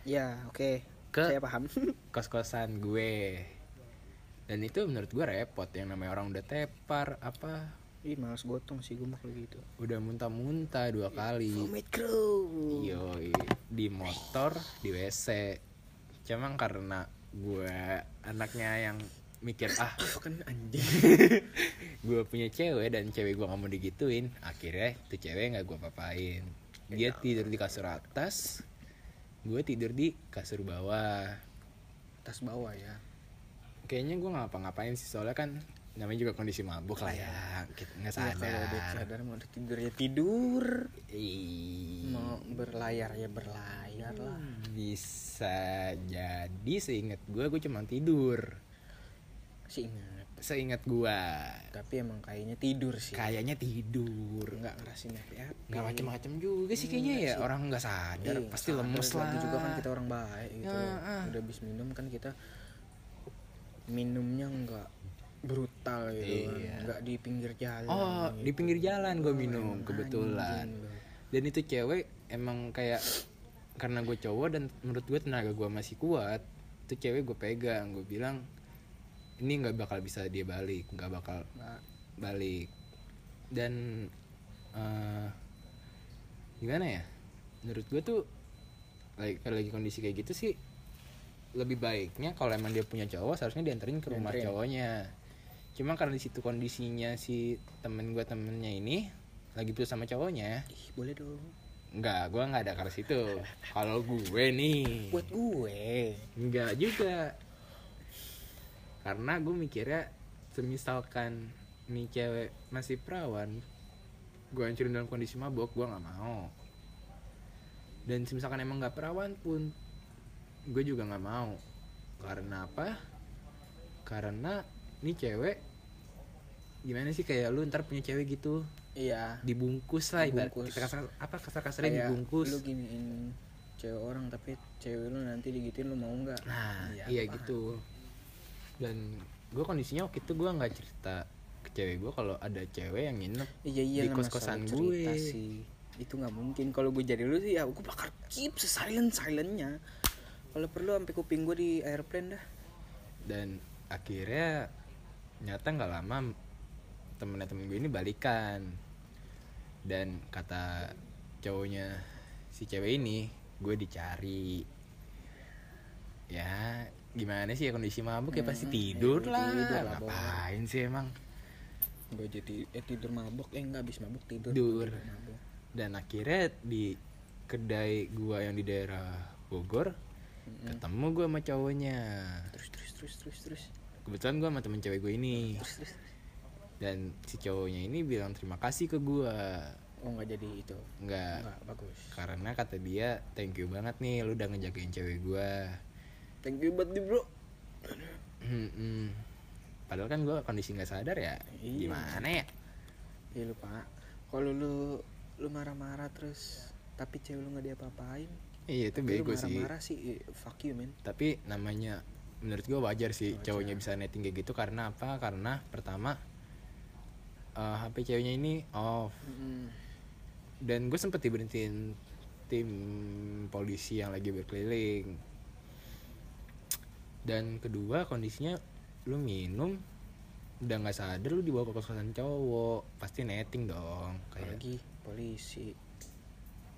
Ya oke.
Ke-
Saya paham.
Kos-kosan gue Dan itu menurut gue repot Yang namanya orang udah tepar Apa
Ih males gotong sih gue mah kalau gitu.
Udah muntah-muntah dua kali
Vomit crew.
Yoi Di motor Di WC Cuman karena Gue Anaknya yang Mikir ah
Kan anjing.
Gue punya cewek Dan cewek gue gak mau digituin Akhirnya Itu cewek gak gue papain Dia tidur di kasur atas Gue tidur di kasur bawah
Tas bawah ya.
kayaknya gue ngapa ngapain sih soalnya kan namanya juga kondisi mabuk lah ya kita nggak
Ya, kalau udah
sadar
sadar mau tidur ya tidur
Ih,
mau berlayar ya berlayar lah
bisa jadi seingat gue gue cuma tidur
sih ingat
seingat gue
tapi emang kayaknya tidur sih
kayaknya tidur
nggak ngerasin ya. apa apa
nggak macem-macem juga sih kayaknya ya orang nggak sadar pasti lemes lah
Iya, juga kan kita orang baik gitu
Ya, ah.
udah habis minum kan kita minumnya nggak brutal gitu kan. nggak di pinggir jalan
Iya. oh di pinggir jalan gue minum kebetulan dan itu cewek emang kayak karena gue cowok dan menurut gue tenaga gue masih kuat itu cewek gue pegang gue bilang ini nggak bakal bisa dia balik nggak bakal balik dan eh, gimana ya menurut gue tuh like, kalau lagi kondisi kayak gitu sih lebih baiknya kalau emang dia punya cowok seharusnya dianterin ke rumah cowoknya cuma karena di situ kondisinya si temen gue temennya ini lagi putus sama cowoknya
Ih, boleh dong
Enggak, gue nggak ada ke arah situ. Kalau gue nih,
buat gue
enggak juga. Karena gue mikirnya, semisalkan nih cewek masih perawan, gue hancurin dalam kondisi mabok, gue nggak mau. Dan semisalkan emang nggak perawan pun, gue juga nggak mau. Karena apa? Karena nih cewek gimana sih kayak lu ntar punya cewek gitu
iya
dibungkus lah ibarat
Dibungkus.
kita kasar apa kasar kasarnya
Kayak
dibungkus
lu giniin cewek orang tapi cewek lu nanti digituin lu mau nggak
nah
Iya,
iya
paham.
gitu dan gue kondisinya waktu itu gue nggak cerita ke cewek gue kalau ada cewek yang nginep
Iya iya
Di
lah, masa
kos-kosan
lu cerita
gue.
sih. Itu nggak mungkin kalau gue jadi lu sih ya gue bakar keep silent silentnya. Kalau perlu sampai kuping gue di airplane dah.
dan akhirnya nyata nggak lama temen temen gue ini balikan dan kata cowoknya si cewek ini gue dicari ya gimana sih ya kondisi mabuk ya pasti tidur
iya,
lah
tidur lah,
ngapain sih emang
Gue jadi eh tidur mabok eh nggak habis mabok tidur.
Tidur.
mabok.
dan akhirnya di kedai gua yang di daerah Bogor ketemu gua sama cowoknya
Terus terus terus terus terus
kebetulan gua sama temen cewek gue ini
terus terus.
dan si cowoknya ini bilang terima kasih ke gua
Oh nggak jadi itu.
nggak
Nggak bagus.
karena kata dia thank you banget nih lu udah ngejagain cewek gua
Thank you banget nih bro.
Mm-mm. padahal kan gua kondisi nggak sadar ya
Iya.
gimana ya
Iya lupa. Kalau lu lu marah-marah terus tapi cewek lu nggak diapa-apain.
iya itu
Tapi lu
bego sih
marah-marah sih eh, fuck you men.
tapi namanya menurut gue wajar sih cowoknya bisa netting kayak gitu karena apa karena pertama eh, HP ceweknya ini off
Mm-mm.
dan gue sempet diberhentiin tim polisi yang lagi berkeliling dan kedua kondisinya lu minum udah nggak sadar lu dibawa ke kosan cowok pasti netting dong kayak
Apalagi polisi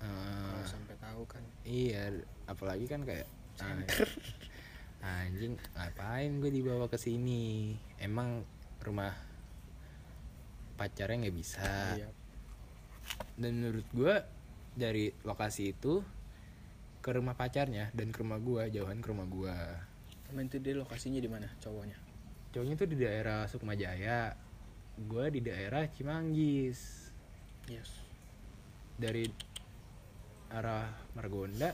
eh,
kalau sampai tahu kan.
Iya, apalagi kan kayak "Ay, anjing ngapain gue dibawa ke sini? Emang rumah pacarnya nggak bisa.
Iya.
Dan menurut gue dari lokasi itu ke rumah pacarnya dan ke rumah gue jauhan ke rumah gue.
Emang itu dia lokasinya di mana cowoknya?
Cowoknya tuh di daerah Sukmajaya, gue di daerah Cimanggis.
Yes.
Dari arah Margonda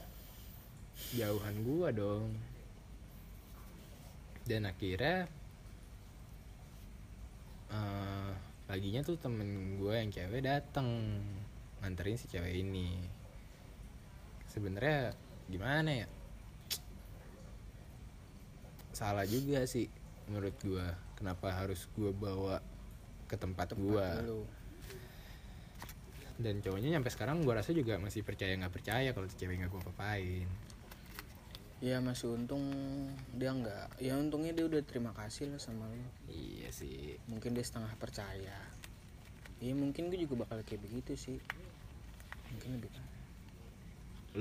jauhan gua dong dan akhirnya eh, paginya tuh temen gue yang cewek dateng nganterin si cewek ini sebenarnya gimana ya salah juga sih menurut gua kenapa harus gua bawa ke tempat, gua
Lu.
dan cowoknya sampai sekarang gua rasa juga masih percaya nggak percaya kalau tuh cewek nggak gua papain
Ya masih untung dia nggak. Ya untungnya dia udah terima kasih lah sama lu.
iya sih
Mungkin dia setengah percaya. Ya mungkin gue juga bakal kayak begitu sih. Mungkin lebih.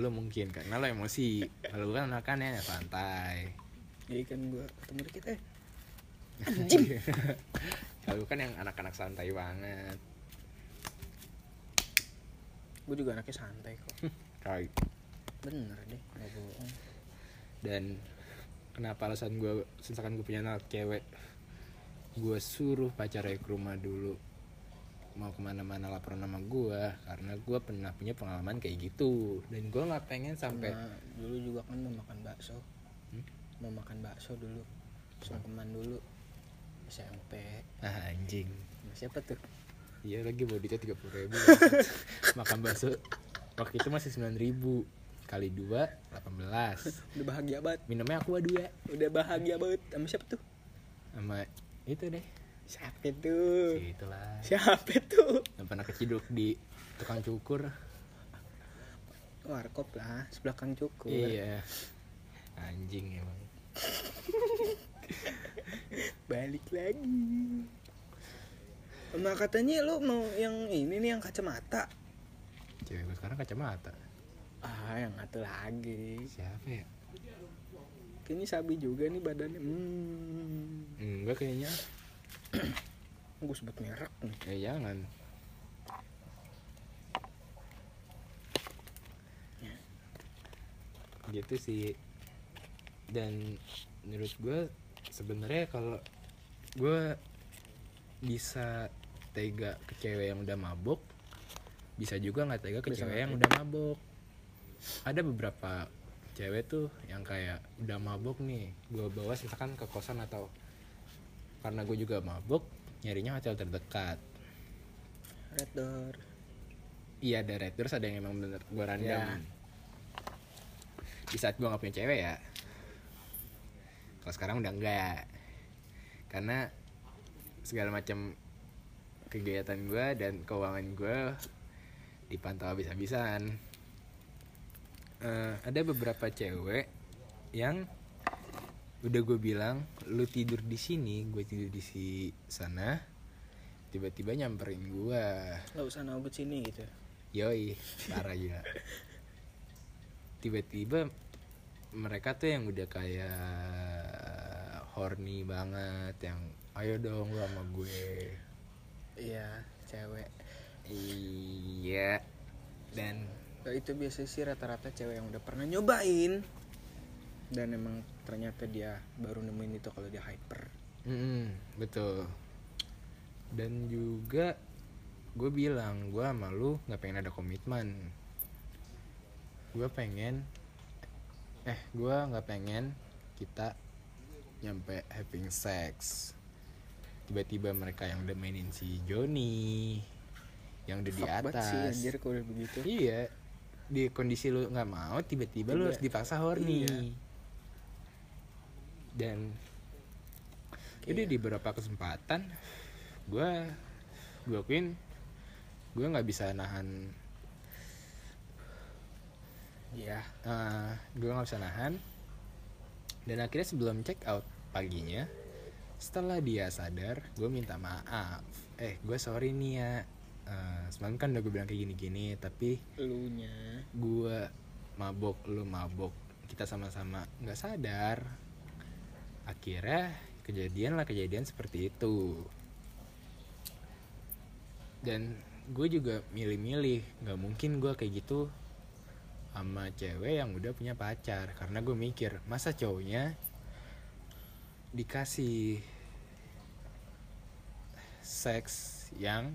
lu mungkin karena lo emosi kalau gua kan makannya santai
Jadi kan gue ketemu dikit eh
kalau gua kan yang anak-anak santai banget
gue juga anaknya santai kok.
Right.
Bener deh, nggak bohong.
dan kenapa alasan gua misalkan gue punya anak cewek gue suruh pacarnya ke rumah dulu mau kemana-mana lapor nama gue karena gue pernah punya pengalaman kayak gitu dan gue nggak pengen sampai
Nah, dulu juga kan mau makan bakso
Hmm?
mau makan bakso dulu sungkeman dulu SMP
ah anjing
Sama siapa tuh
iya lagi boditnya tiga puluh ribu makan bakso waktu itu masih sembilan ribu kali dua delapan belas
udah bahagia banget
minumnya aku dua
udah bahagia banget sama siapa tuh
sama itu deh
siapa tuh
gitu lah
siapa tuh
yang pernah keciduk di tukang cukur
warkop lah sebelah kang cukur
iya anjing emang
balik lagi Emang katanya lo mau yang ini nih yang kacamata
cewek gue sekarang kacamata
ah yang satu lagi
siapa ya
kayaknya sabi juga nih badannya hmm
enggak kayaknya
gue sebut merek nih
ya jangan gitu sih dan menurut gue sebenarnya kalau gue bisa tega ke cewek yang udah mabok bisa juga nggak tega ke
Bisa
cewek
nggak
yang udah mabok ada beberapa cewek tuh yang kayak udah mabok nih gue bawa misalkan ke kosan atau karena gue juga mabok nyarinya hotel terdekat
red door
iya ada red doors ada yang emang bener gue random
Iya.
di saat gue gak punya cewek ya kalau sekarang udah enggak karena segala macam kegiatan gue dan keuangan gue dipantau habis-habisan Eh, ada beberapa cewek yang udah gue bilang lu tidur di sini gue tidur di si sana tiba-tiba nyamperin gue
nggak usah nabut sini gitu
Yoi, parah gila. Tiba-tiba mereka tuh yang udah kayak horny banget yang ayo dong lu sama gue.
iya cewek
Iya. Dan
Nah, itu biasa sih rata-rata cewek yang udah pernah nyobain dan emang ternyata dia baru nemuin itu kalau dia hyper
Mm-mm, betul. Dan juga gue bilang gue sama lu nggak pengen ada komitmen. Gue pengen, eh gue nggak pengen kita nyampe having sex. Tiba-tiba mereka yang udah mainin si Joni, yang udah di
Fuck banget
atas.
sih anjir kalau udah begitu
Iya, di kondisi lu nggak mau, tiba-tiba
gitu. Tiba-
lu harus dipaksa horny.
Iya.
Dan jadi di beberapa kesempatan, gue gue akuin gue nggak bisa nahan,
iya
eh gue nggak bisa nahan. Dan akhirnya sebelum check out paginya, setelah dia sadar, gue minta maaf. Eh, gue sorry nih ya. Eh, semalam kan udah gue bilang kayak gini-gini, tapi
elunya
gua mabok lu mabok kita sama-sama nggak sadar akhirnya kejadian lah kejadian seperti itu dan gue juga milih-milih nggak mungkin gua kayak gitu sama cewek yang udah punya pacar karena gue mikir masa cowoknya dikasih seks yang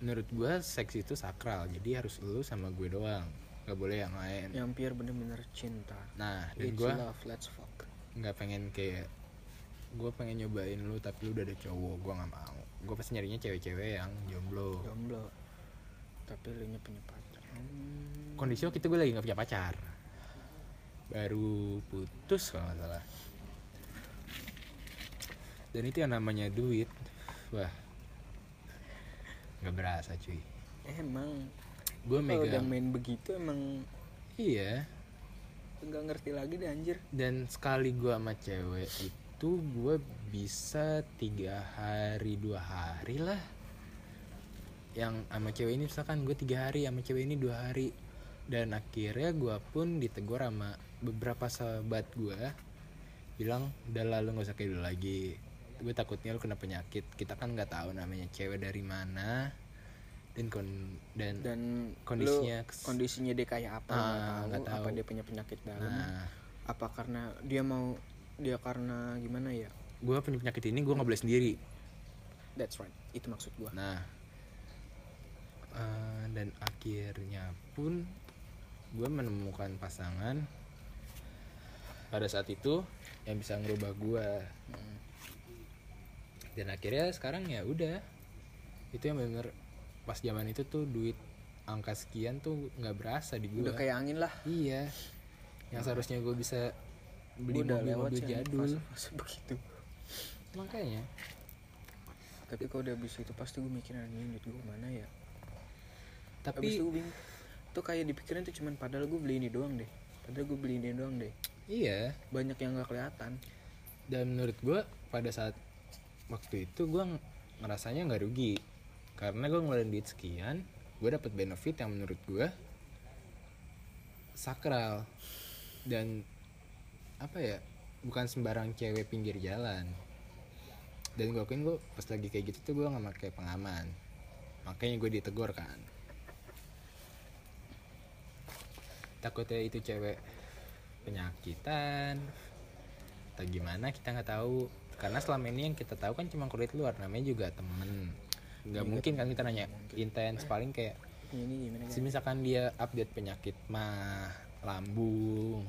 menurut gue seks itu sakral jadi harus lu sama gue doang nggak boleh yang lain
yang pure bener-bener cinta
nah dan
It's
gue
love, let's fuck
nggak pengen kayak gue pengen nyobain lu tapi lu udah ada cowok gue nggak mau gue pasti nyarinya cewek-cewek yang jomblo
jomblo tapi lu punya pacar Hmm.
kondisi waktu itu gue lagi nggak punya pacar baru putus kalau nggak salah dan itu yang namanya duit wah nggak berasa cuy
emang
gue
kalau udah
megang
main begitu emang
iya
nggak ngerti lagi deh anjir
dan sekali gue sama cewek itu gue bisa tiga hari dua hari lah yang sama cewek ini misalkan gue tiga hari sama cewek ini dua hari dan akhirnya gue pun ditegur sama beberapa sahabat gue bilang udah lah lu gak usah kayak dulu lagi gue takutnya lu kena penyakit kita kan nggak tahu namanya cewek dari mana dan kon dan,
dan
Kondisinya
lu-
kes- Nah,
kondisinya dia kayak apa lu nggak
Ah, nggak
tahu. apa
tahu.
dia punya penyakit dalam
nah
apa karena dia mau dia karena gimana ya
gue punya penyakit ini gue nggak boleh sendiri
That's right. Itu maksud gua.
nah eh, dan akhirnya pun gue menemukan pasangan pada saat itu yang bisa ngerubah gue
Hmm.
dan akhirnya sekarang ya udah itu yang bener pas zaman itu tuh duit angka sekian tuh nggak berasa di gue
Udah kayak angin lah.
Iya. Yang seharusnya gue bisa beli
Udah
mobil-mobil
sih
jadul.
fase-fase begitu.
Makanya.
Tapi kalau udah habis itu pasti gue mikirin anjing duit gue mana ya. Habis
Tapi
itu gue bingung. Tuh kayak dipikirin tuh cuman padahal gue beli ini doang deh. Padahal gue beli ini doang deh.
iya.
Banyak yang nggak kelihatan.
Dan menurut gue pada saat waktu itu gue ng- ngerasanya nggak rugi karena gue ngeluarin duit sekian, gue dapet benefit yang menurut gue sakral dan apa ya bukan sembarang cewek pinggir jalan dan gue akuin gue pas lagi kayak gitu tuh gue nggak pakai pengaman makanya gue ditegur kan takutnya itu cewek penyakitan atau gimana kita nggak tahu karena selama ini yang kita tahu kan cuma kulit luar namanya juga temen nggak mungkin Iya. kan kita nanya intens paling kayak
Ini gimana guys?
misalkan dia update penyakit mah lambung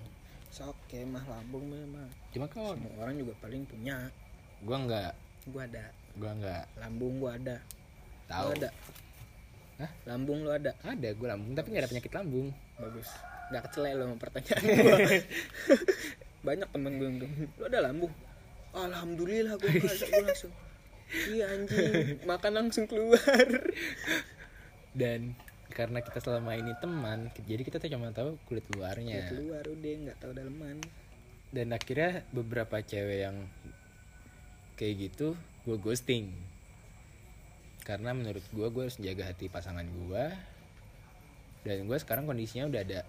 Sok mah lambung mah. mah.
cuma kalau
Semua orang juga paling punya.
gue nggak
Gue ada.
gue nggak
Lambung gue ada.
tahu
Lu ada.
Hah?
Lambung lu ada.
ada gue lambung tapi nggak ada penyakit lambung
Bagus. Gak kecele lo sama pertanyaan gue. Banyak temen gue yang bilang, lo ada lambung? Alhamdulillah gue nggak ada gue langsung. Iya anjing, makan langsung keluar.
dan karena kita selama ini teman jadi kita tuh cuma tahu kulit luarnya
Ya. Keluar udah nggak tahu daleman.
dan akhirnya beberapa cewek yang kayak gitu gue ghosting karena menurut gue gue harus jaga hati pasangan gue dan gue sekarang kondisinya udah ada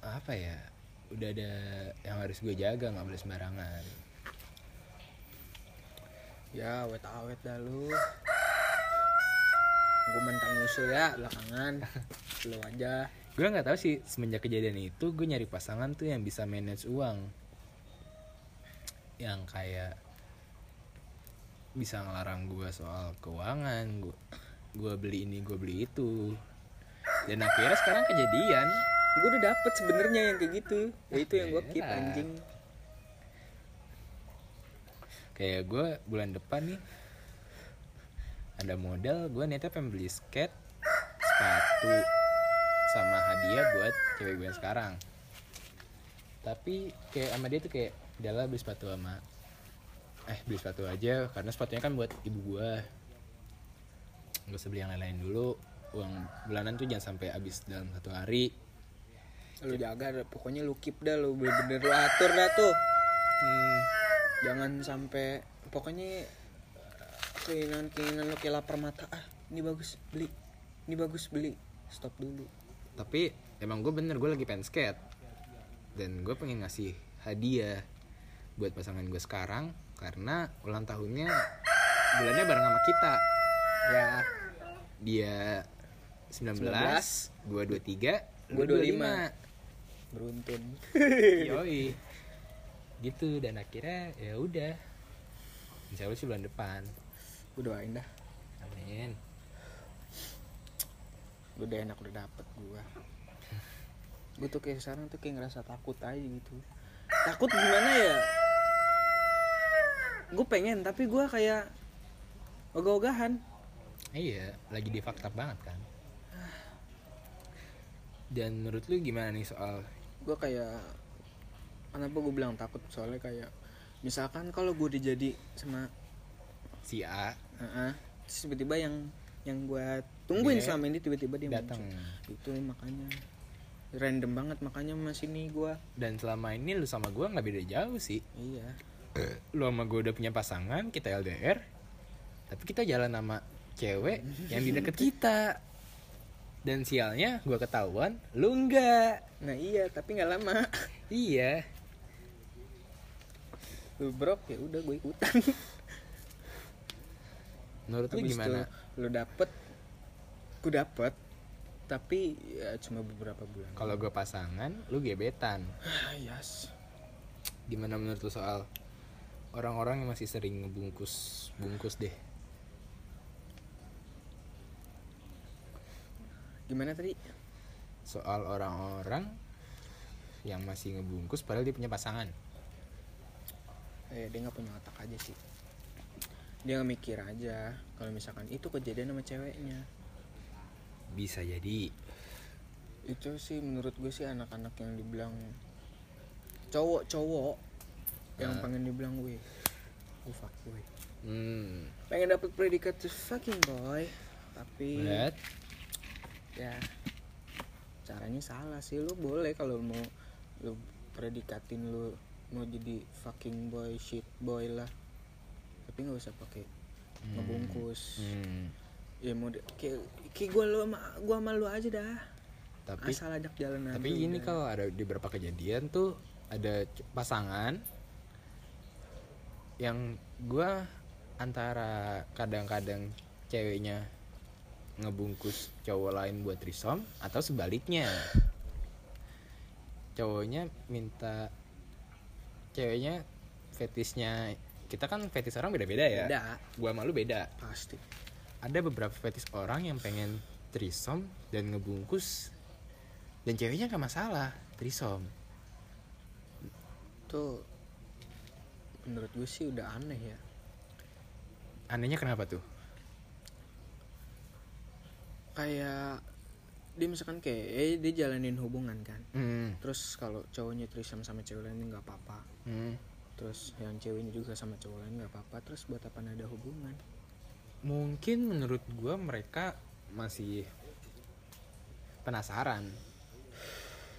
apa ya udah ada yang harus gue jaga nggak boleh sembarangan
Ya awet awet dah lu. Gue mentang usul ya belakangan. Lo aja.
gue nggak tahu sih semenjak kejadian itu gue nyari pasangan tuh yang bisa manage uang yang kayak bisa ngelarang gue soal keuangan gue gue beli ini gue beli itu dan akhirnya sekarang kejadian
Gue udah dapet sebenarnya yang kayak gitu. Ya itu yang gue keep
Daerah.
anjing.
kayak gue bulan depan nih ada modal gue niatnya pengen beli skate sepatu sama hadiah buat cewek gue yang sekarang tapi kayak sama dia tuh kayak udahlah beli sepatu sama eh beli sepatu aja karena sepatunya kan buat ibu gue gue usah beli yang lain-lain dulu uang bulanan tuh jangan sampai habis dalam satu hari
Lo jaga, dah. pokoknya lo keep dah lo bener-bener lo atur dah tuh. Hmm, jangan sampai pokoknya keinginan keinginan lo kayak lapar mata ah ini bagus beli ini bagus beli stop dulu
tapi emang gue bener gue lagi pengen skate dan gue pengen ngasih hadiah buat pasangan gue sekarang karena ulang tahunnya bulannya bareng sama kita
ya
dia 19, gue 23
Gua
gue 25,
25. beruntun
yoi gitu dan akhirnya ya udah insya Allah sih bulan depan
gue doain dah
amin
gue udah enak udah dapet gue gue tuh kayak sekarang tuh kayak ngerasa takut aja gitu takut gimana ya gue pengen tapi gue kayak ogah-ogahan
Iya, lagi di fakta banget kan. Dan menurut lu gimana nih soal
gue kayak kenapa gue bilang takut soalnya kayak misalkan kalau gue dijadi sama
si A
Heeh. Terus tiba-tiba yang yang gue tungguin
Dia
selama ini tiba-tiba dia
Iya. datang?
muncul. Itu makanya random banget makanya mas ini gue
Dan selama ini lu sama gua nggak beda jauh sih.
iya
Lu sama gua udah punya pasangan, kita LDR, tapi kita jalan sama cewek yang di deket kita. Dan sialnya gua ketahuan, lu enggak.
nah iya tapi nggak lama
Iya.
lu brok ya udah gue ikutan
Menurut lu
Habis
gimana?
itu, lu dapet gue dapet tapi ya cuma beberapa bulan
Kalau gua pasangan, lu gebetan.
ah yes
Gimana menurut lu soal orang-orang yang masih sering ngebungkus bungkus deh
Gimana tadi?
soal orang-orang yang masih ngebungkus padahal dia punya pasangan
Eh, dia nggak punya otak aja sih. Dia nggak mikir aja kalau misalkan itu kejadian sama ceweknya.
bisa jadi
Itu sih menurut gue sih anak-anak yang dibilang cowok-cowok yang pengen dibilang gue. Gue fuck boy.
hmm.
Pengen dapet predikat tuh fucking boy. Tapi
berat
ya caranya salah sih lu boleh kalau mau lu predikatin lu mau jadi fucking boy shit boy lah tapi nggak usah pakai ngebungkus
Hmm,
ya mau di- kayak kayak gue lu sama gua sama lu aja dah
tapi
asal ajak jalan
tapi
aja
ini
udah.
kalau ada di beberapa kejadian tuh ada c- pasangan yang gua antara kadang-kadang ceweknya ngebungkus cowok lain buat risom atau sebaliknya cowoknya minta ceweknya fetisnya kita kan fetis orang beda-beda ya
beda
gua malu beda
pasti
ada beberapa fetis orang yang pengen trisom dan ngebungkus dan ceweknya nggak masalah trisom
tuh menurut gue sih udah aneh ya
anehnya kenapa tuh
kayak dia misalkan kayak eh, dia jalanin hubungan kan
hmm,
terus kalau cowoknya trisam sama cewek lain nggak apa-apa
hmm.
terus yang ceweknya juga sama cowok lain nggak apa-apa terus buat apa ada hubungan
mungkin menurut gua mereka masih penasaran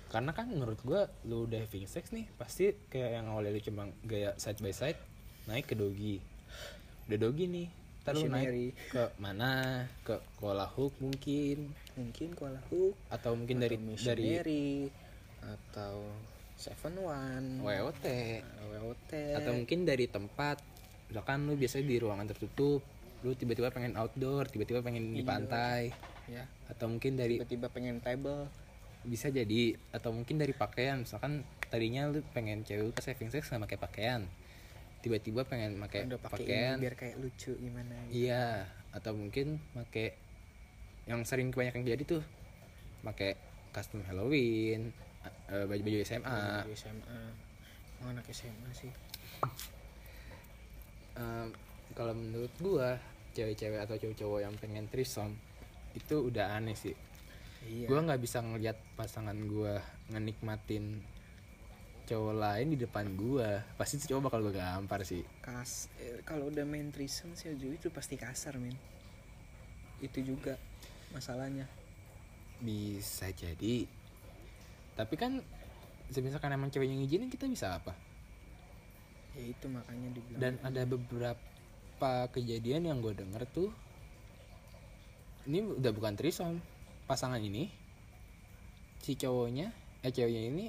karena kan menurut gua lu udah having sex nih pasti kayak yang awalnya lu cuma gaya side by side naik ke dogi udah dogi nih terus
Missionary.
naik ke mana ke kola hook mungkin
mungkin kuala hook
atau mungkin dari
atau
dari
missionary atau seven one
WOT
WOT
atau mungkin dari tempat misalkan lu biasanya di ruangan tertutup lu tiba-tiba pengen outdoor tiba-tiba pengen
Iya,
di pantai
ya
atau mungkin dari
tiba-tiba pengen table
bisa jadi atau mungkin dari pakaian misalkan tadinya lu pengen cewek lu pas having sex nggak pakai pakaian tiba-tiba pengen pakai
udah pakai
pakaian
ini biar kayak lucu gimana gitu.
iya atau mungkin pakai yang sering kebanyakan jadi tuh pakai custom Halloween a- eh, baju-baju SMA
Dari SMA Emang anak SMA sih
Em, kalau menurut gua cewek-cewek atau cowok-cowok yang pengen threesome itu udah aneh sih
iya
gua nggak bisa ngelihat pasangan gua ngenikmatin cowok lain di depan gua pasti tuh cowok bakal gua gampar sih
kas eh, kalau udah main threesome sih Ju, itu pasti kasar men itu juga masalahnya
bisa jadi tapi kan misalkan emang ceweknya ngizinin kita bisa apa
ya itu makanya dibilang
dan ada beberapa kejadian yang gue denger tuh ini udah bukan trisom pasangan ini si cowoknya eh ceweknya ini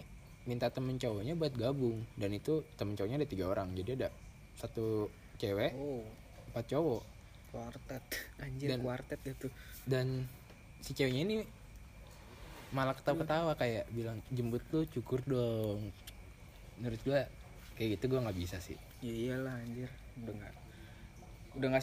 minta temen cowoknya buat gabung dan itu temen cowoknya ada tiga orang jadi ada satu cewek
oh
empat cowok
Kuartet Anjir
Dan-
kuartet gitu
dan si ceweknya ini malah ketawa-ketawa kayak bilang jembut lu cukur dong menurut gue kayak gitu gue nggak bisa sih
Ya iyalah anjir Udah gak Udah gak